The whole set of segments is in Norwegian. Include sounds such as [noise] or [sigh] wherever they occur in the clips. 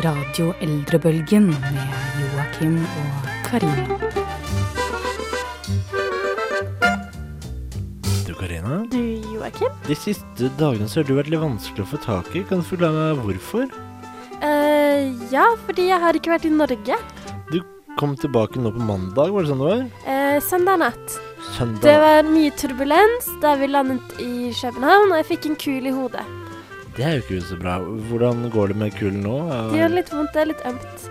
Radio Eldrebølgen med Joakim og Karina. Du, Karina. Du, Joakim? De siste dagene så har du vært litt vanskelig å få tak i. Kan du forklare meg hvorfor? Eh, ja, fordi jeg har ikke vært i Norge. Du kom tilbake nå på mandag, var det sånn det var? Eh, søndag natt. Søndag. Det var mye turbulens da vi landet i København, og jeg fikk en kul i hodet. Det er jo ikke så bra. Hvordan går det med kulen nå? Det gjør litt vondt, det er litt ømt.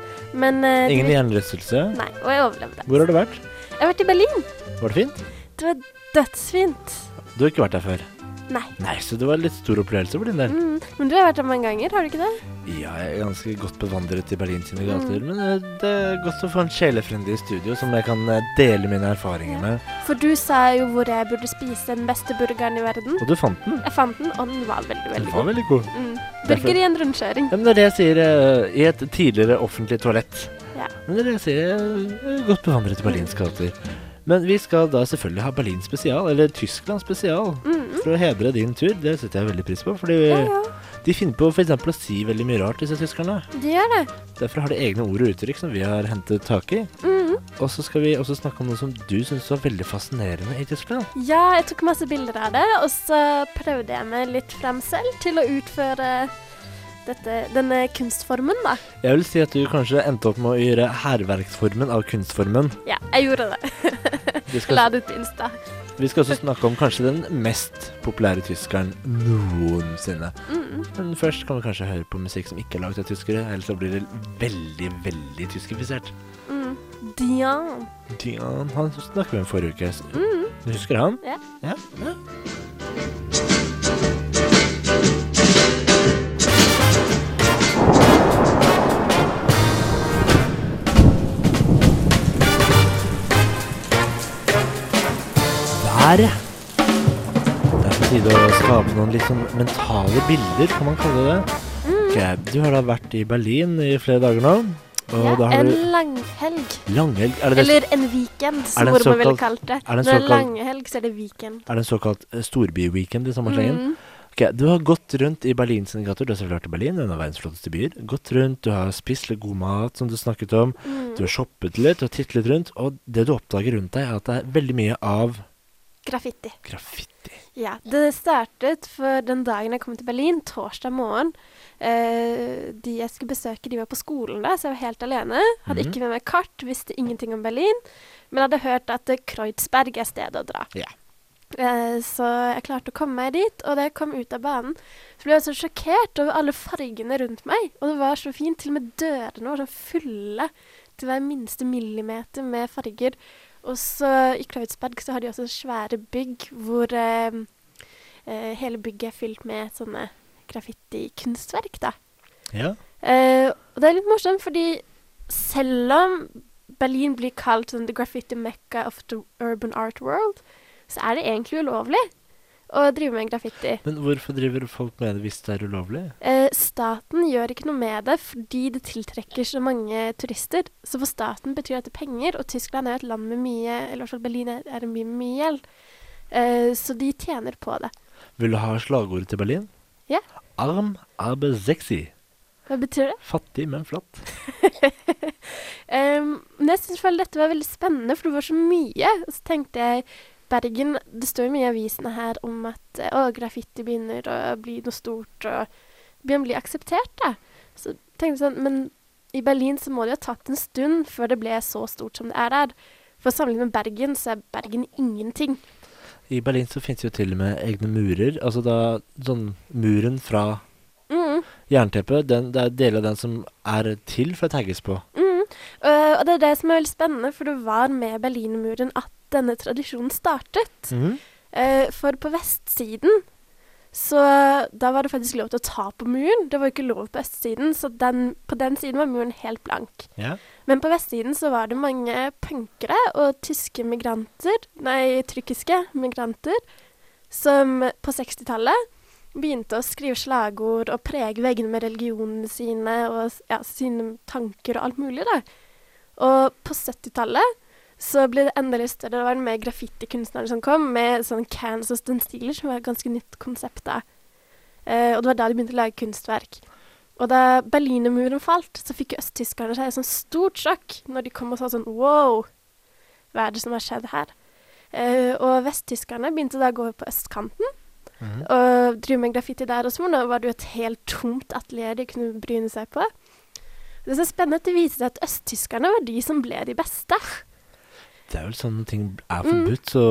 Men eh, det Ingen gikk- hjernerystelse? Nei, og jeg overlevde. Hvor har du vært? Jeg har vært i Berlin. Var det fint? Det var dødsfint. Du har ikke vært der før? Nei. Nei, så det var en litt stor opplevelse for din del. Mm. Men du har vært der mange ganger, har du ikke det? Ja, jeg er ganske godt bevandret i Berlin sine Mm. gater, men eh, det er godt å få en sjelefrende i studio som jeg kan eh, dele mine erfaringer med. For du sa jo hvor jeg burde spise den beste burgeren i verden. Og du fant den? Jeg fant den, og den var veldig, Den veldig var god. veldig god. Mm. Derfor- Burger i en rundkjøring. Ja, men det er det jeg sier eh, i et tidligere offentlig toalett. Ja. Men det er det jeg sier jeg er godt bevandret i Berlins gater. Men vi skal da selvfølgelig ha Berlin spesial, eller Tyskland spesial, Mm. for å hedre din tur. Det setter jeg veldig pris på, fordi Ja, ja. de finner på for eksempel å si veldig mye rart, disse tyskerne. Det gjør det. Derfor har de egne ord og uttrykk som vi har hentet tak i. Mm. Og så skal vi også snakke om noe som du syns var veldig fascinerende i Tyskland. Ja, jeg tok masse bilder av det, og så prøvde jeg meg litt frem selv til å utføre dette, denne kunstformen, da. Jeg vil si at du kanskje endte opp med å gjøre hærverksformen av kunstformen. Ja, jeg gjorde det. Vi Jeg skal La det ut på Insta. Vi skal også snakke om kanskje den mest populære tyskeren noensinne. Mm. Men først kan vi kanskje høre på musikk som ikke er laget av tyskere, ellers så blir det veldig, veldig tyskifisert. Mm. Dian. Dian, han snakket vi om forrige uke. S- Mm. Du husker han? Ja. ja. ja. Været. Det er på tide å skape noen litt sånn mentale bilder, kan man kalle det. Mm-hmm. Ok, Du har da vært i Berlin i flere dager nå. Og Ja, da har en du langhelg. langhelg. Er det det Eller en weekend, Er som det en hvor man ville såkalt- kalt er det. det en Når det er såkalt- langhelg, så er det weekend. Er det en såkalt eh, storbyweekend i sommerslengen? Mm. Ok, Du har gått rundt i Berlin sine gater. Du har selvfølgelig vært i Berlin, en av verdens flotteste byer. Gått rundt, du har spist litt god mat, som du snakket om. Du Mm. har shoppet litt, du har tittet litt rundt. Og det du oppdager rundt deg, er at det er veldig mye av Graffiti. graffiti. Ja, det startet for den dagen jeg kom til Berlin, torsdag morgen. Eh, de jeg skulle besøke, de var på skolen da, så jeg var helt alene. Hadde Mhm. ikke med meg kart, visste ingenting om Berlin. Men hadde hørt at eh, Kreuzberg er stedet å dra. Ja. Eh, så jeg klarte å komme meg dit, og da jeg kom ut av banen, så ble jeg så sjokkert over alle fargene rundt meg. Og det var så fint. Til og med dørene var sånn fulle til hver minste millimeter med farger. Og så i Kreuzberg så har de også svære bygg hvor eh, eh, hele bygget er fylt med sånne graffitikunstverk, da. Ja. Eh, og det er litt morsomt, fordi selv om Berlin blir kalt sånn the graffiti mecca of the urban art world, så er det egentlig ulovlig å drive med graffiti. Men hvorfor driver folk med det hvis det er ulovlig? Eh, staten gjør ikke noe med det fordi det tiltrekker så mange turister. Så for staten betyr dette penger, og Tyskland er jo et land med mye Eller i hvert fall Berlin er er en by med mye gjeld. Eh, så de tjener på det. Vil du ha slagordet til Berlin? Ja. Arm, aber sexy. Hva betyr det? Fattig, men flott. Eh, men jeg syns dette var veldig spennende, for det var så mye. Og så tenkte jeg Bergen Det står jo mye i avisene her om at eh, å, graffiti begynner å bli noe stort, og begynner å bli akseptert, da. Så tenkte jeg sånn Men i Berlin så må det jo ha tatt en stund før det ble så stort som det er der. For sammenlignet med Bergen, så er Bergen ingenting. I Berlin så finnes jo til og med egne murer. Altså da sånn muren fra Mm, Jernteppet, den, det er deler av den som er til for å tagges på. mm. Eh, og det er det som er veldig spennende, for det var med Berlinmuren at denne tradisjonen startet. Eh, for på vestsiden så da var det faktisk lov til å ta på muren. Det var jo ikke lov på østsiden, så den, på den siden var muren helt blank. Ja. Men på vestsiden så var det mange punkere og tyske migranter, nei, tyrkiske migranter, som på 60-tallet begynte å skrive slagord og prege veggene med religionene sine og ja, sine tanker og alt mulig, da. Og på 70-tallet så ble det endelig større. Det var det mer graffitikunstnere som kom, med sånn Kansas Den Steeler, som var et ganske nytt konsept da. Eh, og det var da de begynte å lage kunstverk. Og da Berlinermuren falt, så fikk jo østtyskerne seg et sånt stort sjokk når de kom og sa sånn wow, hva er det som har skjedd her? Eh, og vesttyskerne begynte da å gå over på østkanten Mhm. og drive med graffiti der også, hvor nå var det jo et helt tomt atelier de kunne bryne seg på. Det som er spennende, at det viser seg at østtyskerne var de som ble de beste. Det er vel sånne ting er Mm. forbudt, så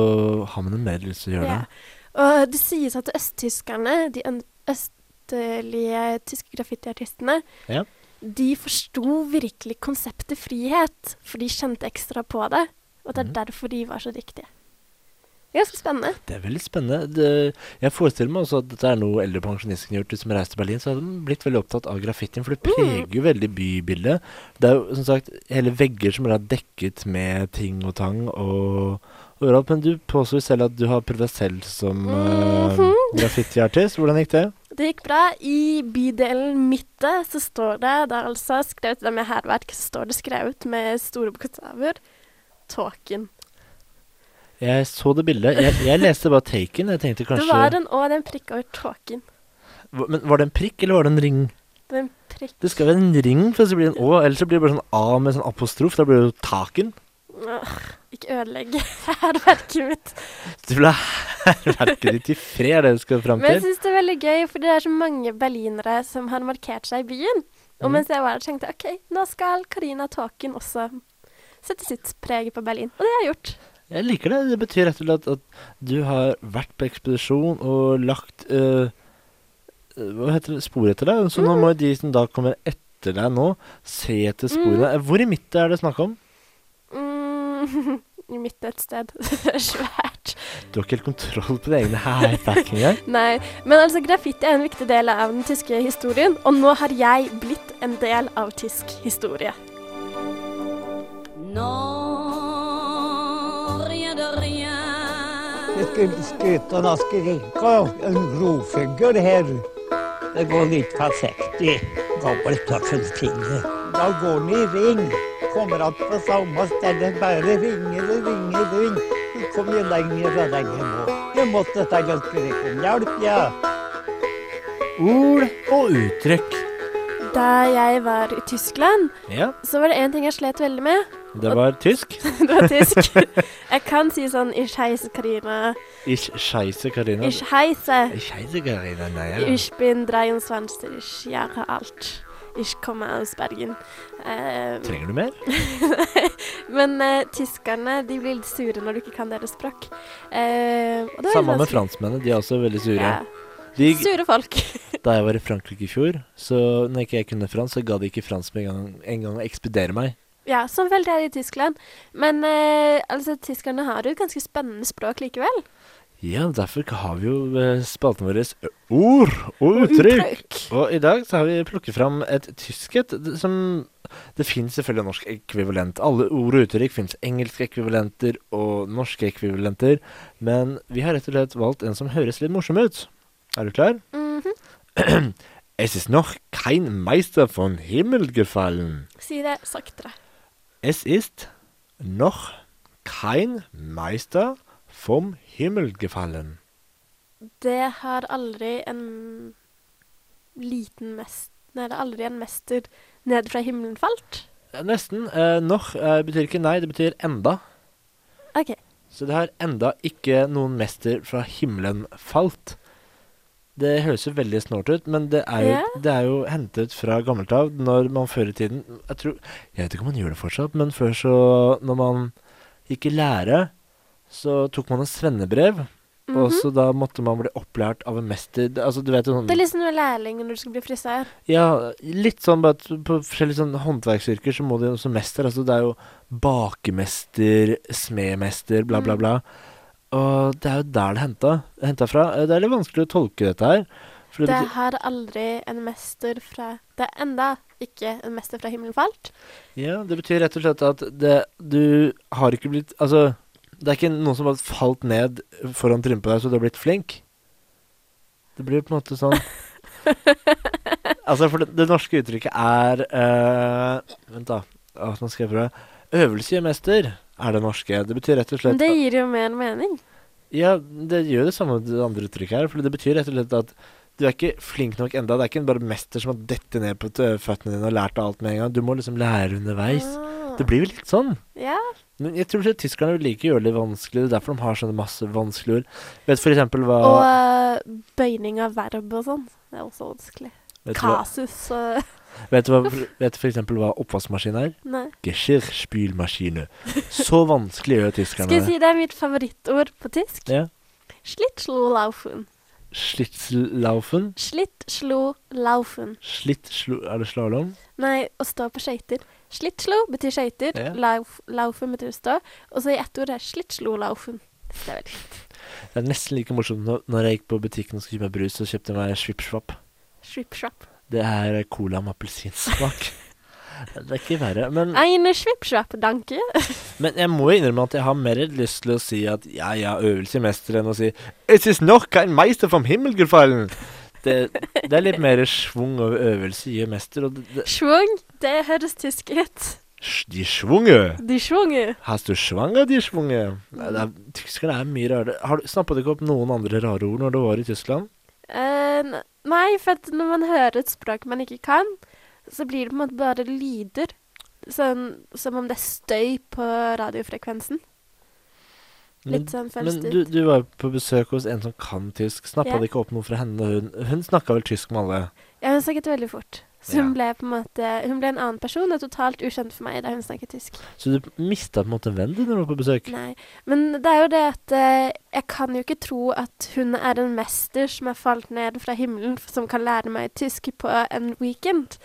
har man en meddelelse til å gjøre Ja. det. Og det sies at østtyskerne, de øn- østlige tyske graffitiartistene, Ja. de forsto virkelig konseptet frihet, for de kjente ekstra på det. Og det er Mhm. derfor de var så dyktige. Det er ganske spennende. Det er veldig spennende. Det, jeg forestiller meg også at dette er noe eldre pensjonister kunne gjort. Hvis de reiste til Berlin, så hadde de blitt veldig opptatt av graffitien, Mm. for det preger jo veldig bybildet. Det er jo som sagt hele vegger som er dekket med ting og tang og overalt. Men du påstår jo selv at du har prøvd deg selv som eh, Mhm. graffitiartist. Hvordan gikk det? Det gikk bra. I bydelen Midte så står det Det er altså skrevet det med hærverk, så står det skrevet med store bokstaver Tåken. Jeg så det bildet. Jeg, jeg leste bare Taken. Jeg tenkte Det kanskje var en Å, den prikk over tåken. Hva- Men var det en prikk, eller var det en ring? Den prikk Det skal være en ring, for så blir det en Å. Ellers så blir det bare sånn A med sånn apostrof. Da blir det jo Taken. Åh, Ikke [laughs] ødelegge hærverket mitt. Du vil ha hærverket ditt i fred, er det du skal fram Men jeg til? syns det er veldig gøy, for det er så mange berlinere som har markert seg i byen. Og Mm. mens jeg var der, tenkte jeg OK, nå skal Karina Tåken også sette sitt preg på Berlin. Og det har jeg gjort. Jeg liker det. Det betyr rett og slett at du har vært på ekspedisjon og lagt øh, øh, Hva heter det? Spor etter deg. Så nå Mm. må jo de som da kommer etter deg nå, se etter sporene. Hvor i midten er det snakk om? Mm, [laughs] I mitt et sted. [laughs] Det er svært. Du har ikke helt kontroll på dine egne hærverkinger. Nei, men altså graffiti er en viktig del av den tyske historien, og nå har jeg blitt en del av tysk historie. Non, rien de rien. Skuta har skrika en grovfugl her. Det går litt forsiktig. Gammel tøffel finger. Da går den i ring. Kommer att på samme sted. Bare ringer og ringer og ringer. Du kommer jo lenger og lenger nå. Jeg måtte ta en skrik om hjelp, ja. Ord og uttrykk. Da jeg var i Tyskland, Ja, så var det én ting jeg slet veldig med. [laughs] det var tysk. Det var [laughs] tysk. Jeg kan si sånn Ich heiße Karina. Ich scheisse, Karina. Ich heiße. Ich heiße Karina, naja. Ich bin 23 Jahre alt. Ich kommer aus Bergen. Eh, Trenger du mer? men eh, tyskerne de blir litt sure når du ikke kan deres språk. Eh, og det Samme var litt med vanskelig. franskmennene, de er også veldig sure. Ja. De, Sure folk. [laughs] da jeg var i Frankrike i fjor, så når ikke jeg kunne fransk, så ga de ikke franskmenn engang- engang å ekspedere meg. Ja, som veldig er i Tyskland. Men eh, altså, tyskerne har jo et ganske spennende språk likevel. Ja, derfor har vi jo eh, spalten vår eh, ord og uttrykk. Og i dag så har vi plukket fram et tyskhet som Det fins selvfølgelig norsk ekvivalent. Alle ord og uttrykk fins engelske ekvivalenter og norske ekvivalenter. Men vi har rett og slett valgt en som høres litt morsom ut. Er du klar? Mhm. [clears throat] Es ist noch kein Meister von Himmel gefallen. Si det saktere. Es ist noch kein Meister vom Himmel gefallen. Det har aldri en liten mest... Nei, det er aldri en mester ned fra himmelen falt. Eh, Nesten. Eh, noch eh, betyr ikke nei, det betyr enda. OK. Så det har enda ikke noen mester fra himmelen falt. Det høres jo veldig snålt ut, men det er jo, Ja. det er jo hentet fra gammelt av. Når man før i tiden jeg, tror, jeg vet ikke om man gjør det fortsatt, men før så Når man gikk i lære, så tok man et svennebrev. Og så da måtte man bli opplært av en mester. Det- Altså, du vet jo sånn Det er liksom noe lærling når du skal bli frisør. ja, litt sånn bare at på forskjellige sånn håndverksyrker så må du jo som mester. Altså det er jo bakemester, smedmester, bla, bla, Mm. bla. Og det er jo der det er henta, henta fra. Eh, Det er litt vanskelig å tolke dette her. For det betyr, Det har aldri en mester fra Det er enda ikke en mester fra himmelen falt. ja, det betyr rett og slett at det, du har ikke blitt Altså, det er ikke noen som har falt ned foran trynet på deg, så du har blitt flink. Det blir på en måte [laughs] sånn Altså, for det, det norske uttrykket er eh, Vent, da. Åh, Nå skal jeg prøve. Øvelse gjør mester, er det norske. Det betyr rett og Men slett det gir jo mer mening. Ja, det gjør det samme med det andre uttrykket her. For det betyr rett og slett at Du er ikke flink nok enda Det er ikke bare mester som har dettet ned på tø- føttene dine og lært alt med en gang. Du må liksom lære underveis. Ah. Det blir jo litt sånn. Ja. Men jeg tror ikke tyskerne vil like å gjøre det litt vanskelig. Det er derfor de har sånne masse vanskelige ord. Vet for eksempel hva Og Ah. eh, bøyning av verb og sånn. Det er også vanskelig. vet, du hva, Kasus og [laughs] vet, du hva, vet du for eksempel hva oppvaskmaskin er? Nei. Geschirrspülmaschine. Så vanskelig gjør Skal tyskerne jeg det. si det er mitt favorittord på tysk? Ja. Schlittschlulaufen. Schlitzlaufen. Schlittschlulaufen. Schlitzlu... Er det slalåm? Nei, å stå på skøyter. Schlittschlu betyr skøyter, Ja. lauf, laufen betyr stå, og så i ett ord er schlittschlulaufen. Det er veldig Det er nesten like morsomt nå- når jeg gikk på butikken og skulle kjøpe meg brus, så kjøpte jeg meg Schwippschwapp. schwippschwapp. Det er cola med [laughs] appelsinsmak. Det er ikke verre. Men, Eine schwippschwapp, danke. men jeg må jo innrømme at jeg har mer lyst til å si at ja, ja, øvelse i mester, enn å si Es ist noch kein Meister vom Himmel gefallen. Det, det er litt mer schwung over øvelse i mester, og det, det, Schwung, det høres tysk ut. Sch- De schwunge. De schwunge. Hast du schwanger, de schwunge? Nei, det er- Tyskerne er mye rare. Har du Snappa du ikke opp noen andre rare ord når du var i Tyskland? Eh, n- nei, for at når man hører et språk man ikke kan, så blir det på en måte bare lyder. Sånn, som om det er støy på radiofrekvensen. Men- Litt sånn føles Men det du, ut. du var jo på besøk hos en som kan tysk. Snappa Ja. det ikke opp noe fra henne? Hun, hun snakka vel tysk med alle? Ja, hun snakket veldig fort. Så hun Ja. ble på en måte Hun ble en annen person og totalt ukjent for meg da hun snakket tysk. Så du mista på en måte en venn du når du var på besøk? Nei. Men det er jo det at eh, jeg kan jo ikke tro at hun er en mester som er falt ned fra himmelen, f- som kan lære meg tysk på en weekend.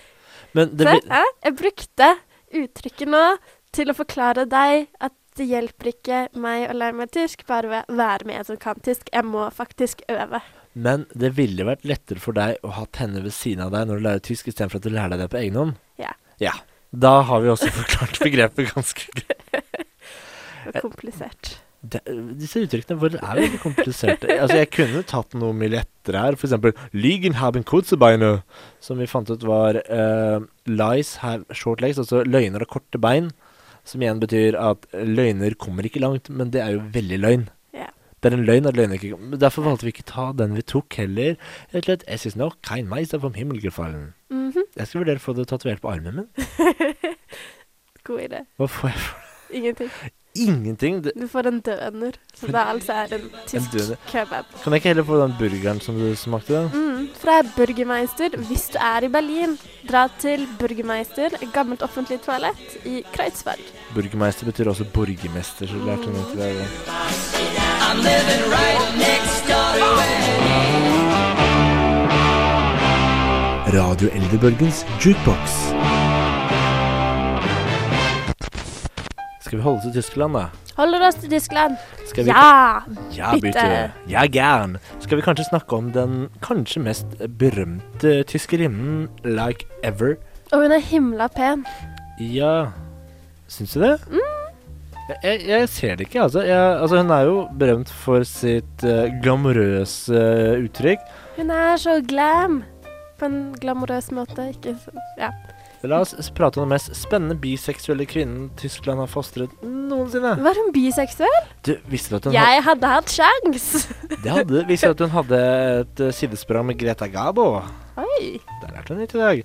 Men det Se, blir hæ? jeg brukte uttrykket nå til å forklare deg at det hjelper ikke meg å lære meg tysk, bare ved å være med en som kan tysk. Jeg må faktisk øve. Men det ville vært lettere for deg å ha henne ved siden av deg når du lærer tysk, istedenfor at du lærer deg det på egen hånd? Ja. ja. Da har vi også [laughs] forklart begrepet ganske greit. Det er komplisert. Det- Disse uttrykkene våre er veldig kompliserte. Altså, jeg kunne tatt noe mye lettere her, for eksempel 'Ligen haben kurze beine', som vi fant ut var eh, 'lies have short legs', altså løgner har korte bein, som igjen betyr at løgner kommer ikke langt, men det er jo veldig løgn. Ja. Det er en løgn at løgner ikke kommer. Derfor valgte vi ikke ta den vi tok heller. Rett og slett 'Es ist noch kein Meister vom Himmel gefallen'. Mhm, Jeg skal vurdere å få det tatovert på armen min. God idé. Hva får jeg for Ingenting. Ingenting! Det Du får en døner, som da altså er en tysk døner. kebab. kan jeg ikke heller få den burgeren som du smakte? da? Mm, fra Burgermeister, hvis du er i Berlin, dra til Burgermeister, et gammelt offentlig toalett i Kreuzberg. Burgermeister betyr også borgermester, så lærte hun ikke det. Radio Eldrebølgens jukebox. Skal vi holde til Tyskland, da? Holder oss til Tyskland. Skal vi Ja! ja, bitte. bitte. Ja, gern. Skal vi kanskje snakke om den kanskje mest berømte tyskerinnen like ever? Og hun er himla pen. Ja Syns du det? Mm. Jeg- Jeg, jeg ser det ikke, altså. Jeg, altså. Hun er jo berømt for sitt eh, glamorøse eh, uttrykk. Hun er så glam. På en glamorøs måte. Ikke så Ja. La oss s- prate om den mest spennende biseksuelle kvinnen Tyskland har fostret noensinne. Var hun biseksuell? Du, visste du at hun, Jeg hadde hatt sjans! hadde, det hadde, visste du at hun hadde et eh, sidesprang med Greta Gabo? Oi. Der lærte hun litt i dag.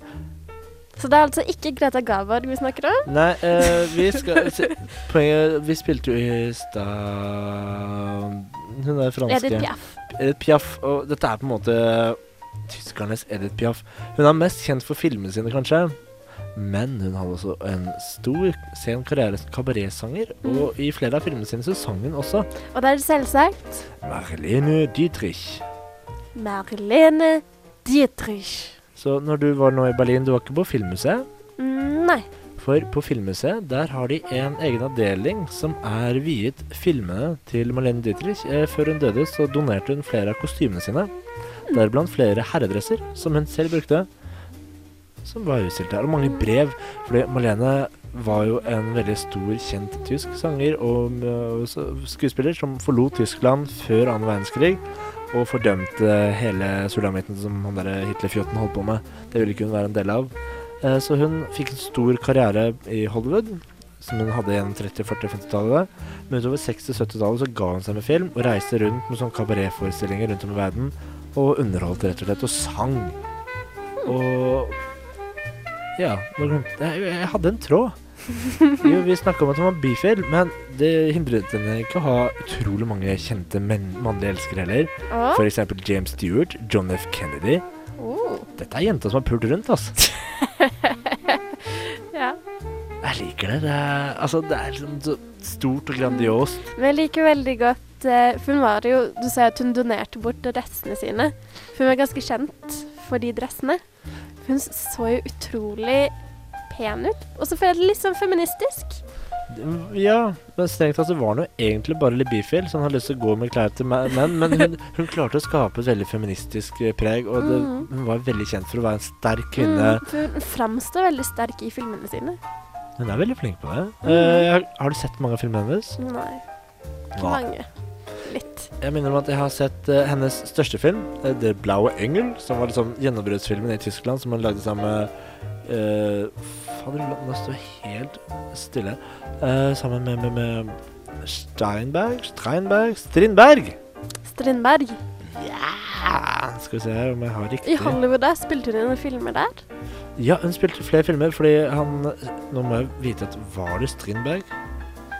Så det er altså ikke Greta Garborg vi snakker om? Nei, eh, vi skal se, Poenget Vi spilte jo i stad Hun er franske. Edith Piaf. Edith Piaf, og dette er på en måte tyskernes Edith Piaf. Hun er mest kjent for filmene sine, kanskje. Men hun hadde også en stor sen karriere som kabaretsanger, Mm. og i flere av filmene sine så sang hun også Og det er selvsagt Marlene Dietrich. Marlene Dietrich. Så når du var nå i Berlin, du var ikke på Filmmuseet? Mm, Nei. For på Filmmuseet der har de en egen avdeling som er viet filmene til Marlene Dietrich. Eh, Før hun døde, så donerte hun flere av kostymene sine. Deriblant flere herredresser som hun selv brukte, som var utstilt der. Og mange brev. Fordi Marlene var jo en veldig stor, kjent tysk sanger og eh, også skuespiller som forlot Tyskland før annen verdenskrig. Og fordømte hele sulamitten som han der Hitlerfjotten holdt på med. Det ville ikke hun være en del av. Eh, Så hun fikk en stor karriere i Hollywood, som hun hadde gjennom 30-, 40-, 50-tallet. Men utover 60-, 70-tallet så ga hun seg med film og reiste rundt med sånne kabaretforestillinger rundt om i verden. Og underholdt, rett og slett. Og sang. Og Ja, nå glemte jeg Jeg hadde en tråd. Jo, vi snakka om at hun var bifil, men det hindret henne ikke å ha utrolig mange kjente menn, mannlige elskere heller. Å, For eksempel James Stewart, John F. Kennedy. oh. Dette er jenta som har pult rundt, ass. ja. Jeg liker det. Det er, altså, det er liksom så stort og grandiost. Men jeg liker veldig godt eh, For hun var jo Du ser at hun donerte bort dressene sine. For hun var ganske kjent for de dressene. For hun så jo utrolig pen ut. Og så føler jeg det litt sånn feministisk. Ja, men strengt tatt så var hun jo egentlig bare litt bifil, så hun hadde lyst til å gå med klær til me- menn. Men hun, hun klarte å skape et veldig feministisk eh, preg, og det, Mhm. hun var veldig kjent for å være en sterk kvinne. Mm, for hun framstår veldig sterk i filmene sine. Hun er veldig flink på det. Eh, har, har du sett mange av filmene hennes? Nei, ikke mange. Litt. Jeg minner om at jeg har sett eh, hennes største film, eh, 'Det blaue engel', som var liksom gjennombruddsfilmen i Tyskland som hun lagde sammen med uh, Fader, nå står jeg helt stille. Eh, sammen med, med, med Steinberg Steinberg Strindberg! Strindberg. Ah, skal vi se her om jeg har I riktig. Hollywood der spilte hun i noen filmer der. Ja, hun spilte flere filmer fordi han Nå må jeg vite at Var det Strindberg?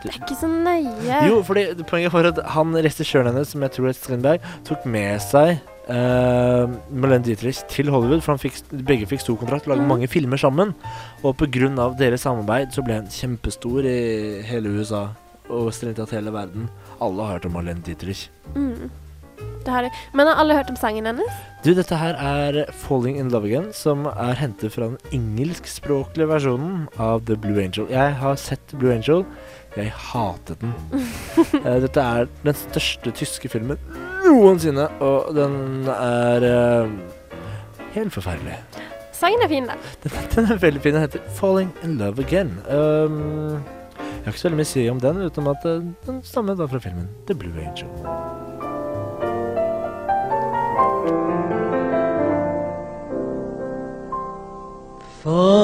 Det er ikke så nøye. Jo, fordi det- poenget var at han regissøren hennes, som jeg tror er Strindberg, tok med seg uh, Malene Dietrich til Hollywood, for han fikk, begge fikk stor kontrakt og laget Mm. mange filmer sammen. Og pga. deres samarbeid så ble han kjempestor i hele USA, og strengt tatt hele verden. Alle har hørt om Malene Dietrich. Mm. Det har jeg. Men har alle hørt om sangen hennes? Du, dette her er 'Falling in Love Again', som er hentet fra den engelskspråklige versjonen av The Blue Angel. Jeg har sett Blue Angel. Jeg hatet den. Eh, dette er den største tyske filmen noensinne, og den er eh, helt forferdelig. Sangen er fin, da. Den, den er veldig fin. Den heter 'Falling in Love Again'. Um, jeg har ikke så veldig mye å si om den, utenom at eh, den stammer da fra filmen 'The Blue Angel'.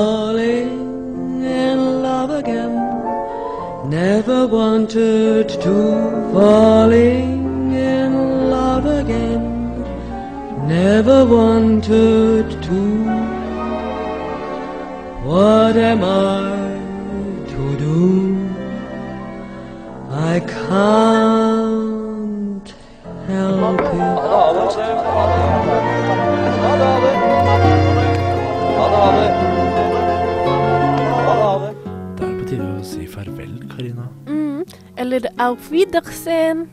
Falling in love again. Never wanted to. Falling in love again. Never wanted to. What am I to do? I can't help it. Da er det på tide å si farvel, Karina. Mm. Eller Auf Wiedersehen.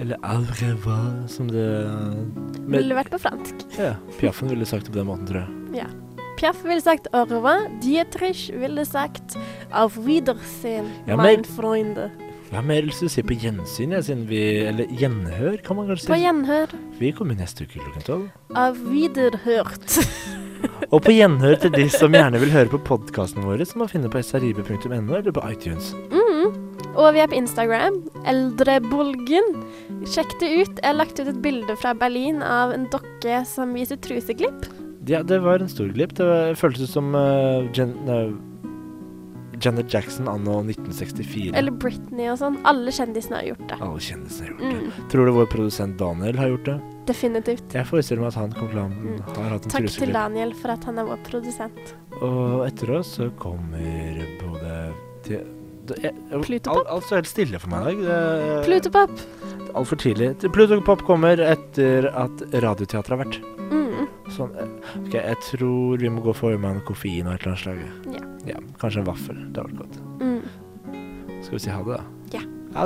Eller au revoir, som det Men- Ville vært på fransk. Ja, Piaffen ville sagt det på den måten, tror jeg. Piaf ville sagt au revoir. Dietrich ville sagt auf Wiedersehen, Ja, mein men- Freunde. Jeg har mer lyst til å si på gjensyn, jeg, siden vi Eller gjenhør, kan man kanskje På si. gjenhør. Vi kommer neste uke klokken tolv. Auf Wiederhørt. Og på gjenhør til de som gjerne vil høre på podkasten vår, som man finner på srib.no eller på iTunes. Mm. Og vi er på Instagram. Eldrebulgen. Sjekk det ut. Jeg har lagt ut et bilde fra Berlin av en dokke som viser truseglipp. Ja, det var en stor glipp. Det var, føltes ut som eh, Jen, eh, Janet Jackson anno 1964. Eller Britney og sånn. Alle kjendisene har gjort det. Alle kjendisene har gjort det. Mm, Tror du vår produsent Daniel har gjort det? definitivt. Jeg forestiller meg at han kom til han har hatt en Takk til truseglipp. Daniel for at han er vår produsent. Og etter oss så kommer både til det- jeg- jeg- Plutopop? Alt, alt står helt stille for meg i dag. Det- Plutopop. Altfor tidlig. Til Plutopop kommer etter at Radioteatret har vært. Mm. Sånn, eh, ok, Jeg tror vi må gå for meg en koffein av et eller annet slag. Ja. ja. Kanskje en vaffel. Det hadde vært godt. Mm. Skal vi si ha det, da? Ja. Ha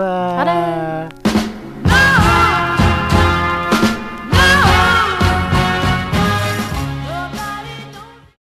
det. Ha det.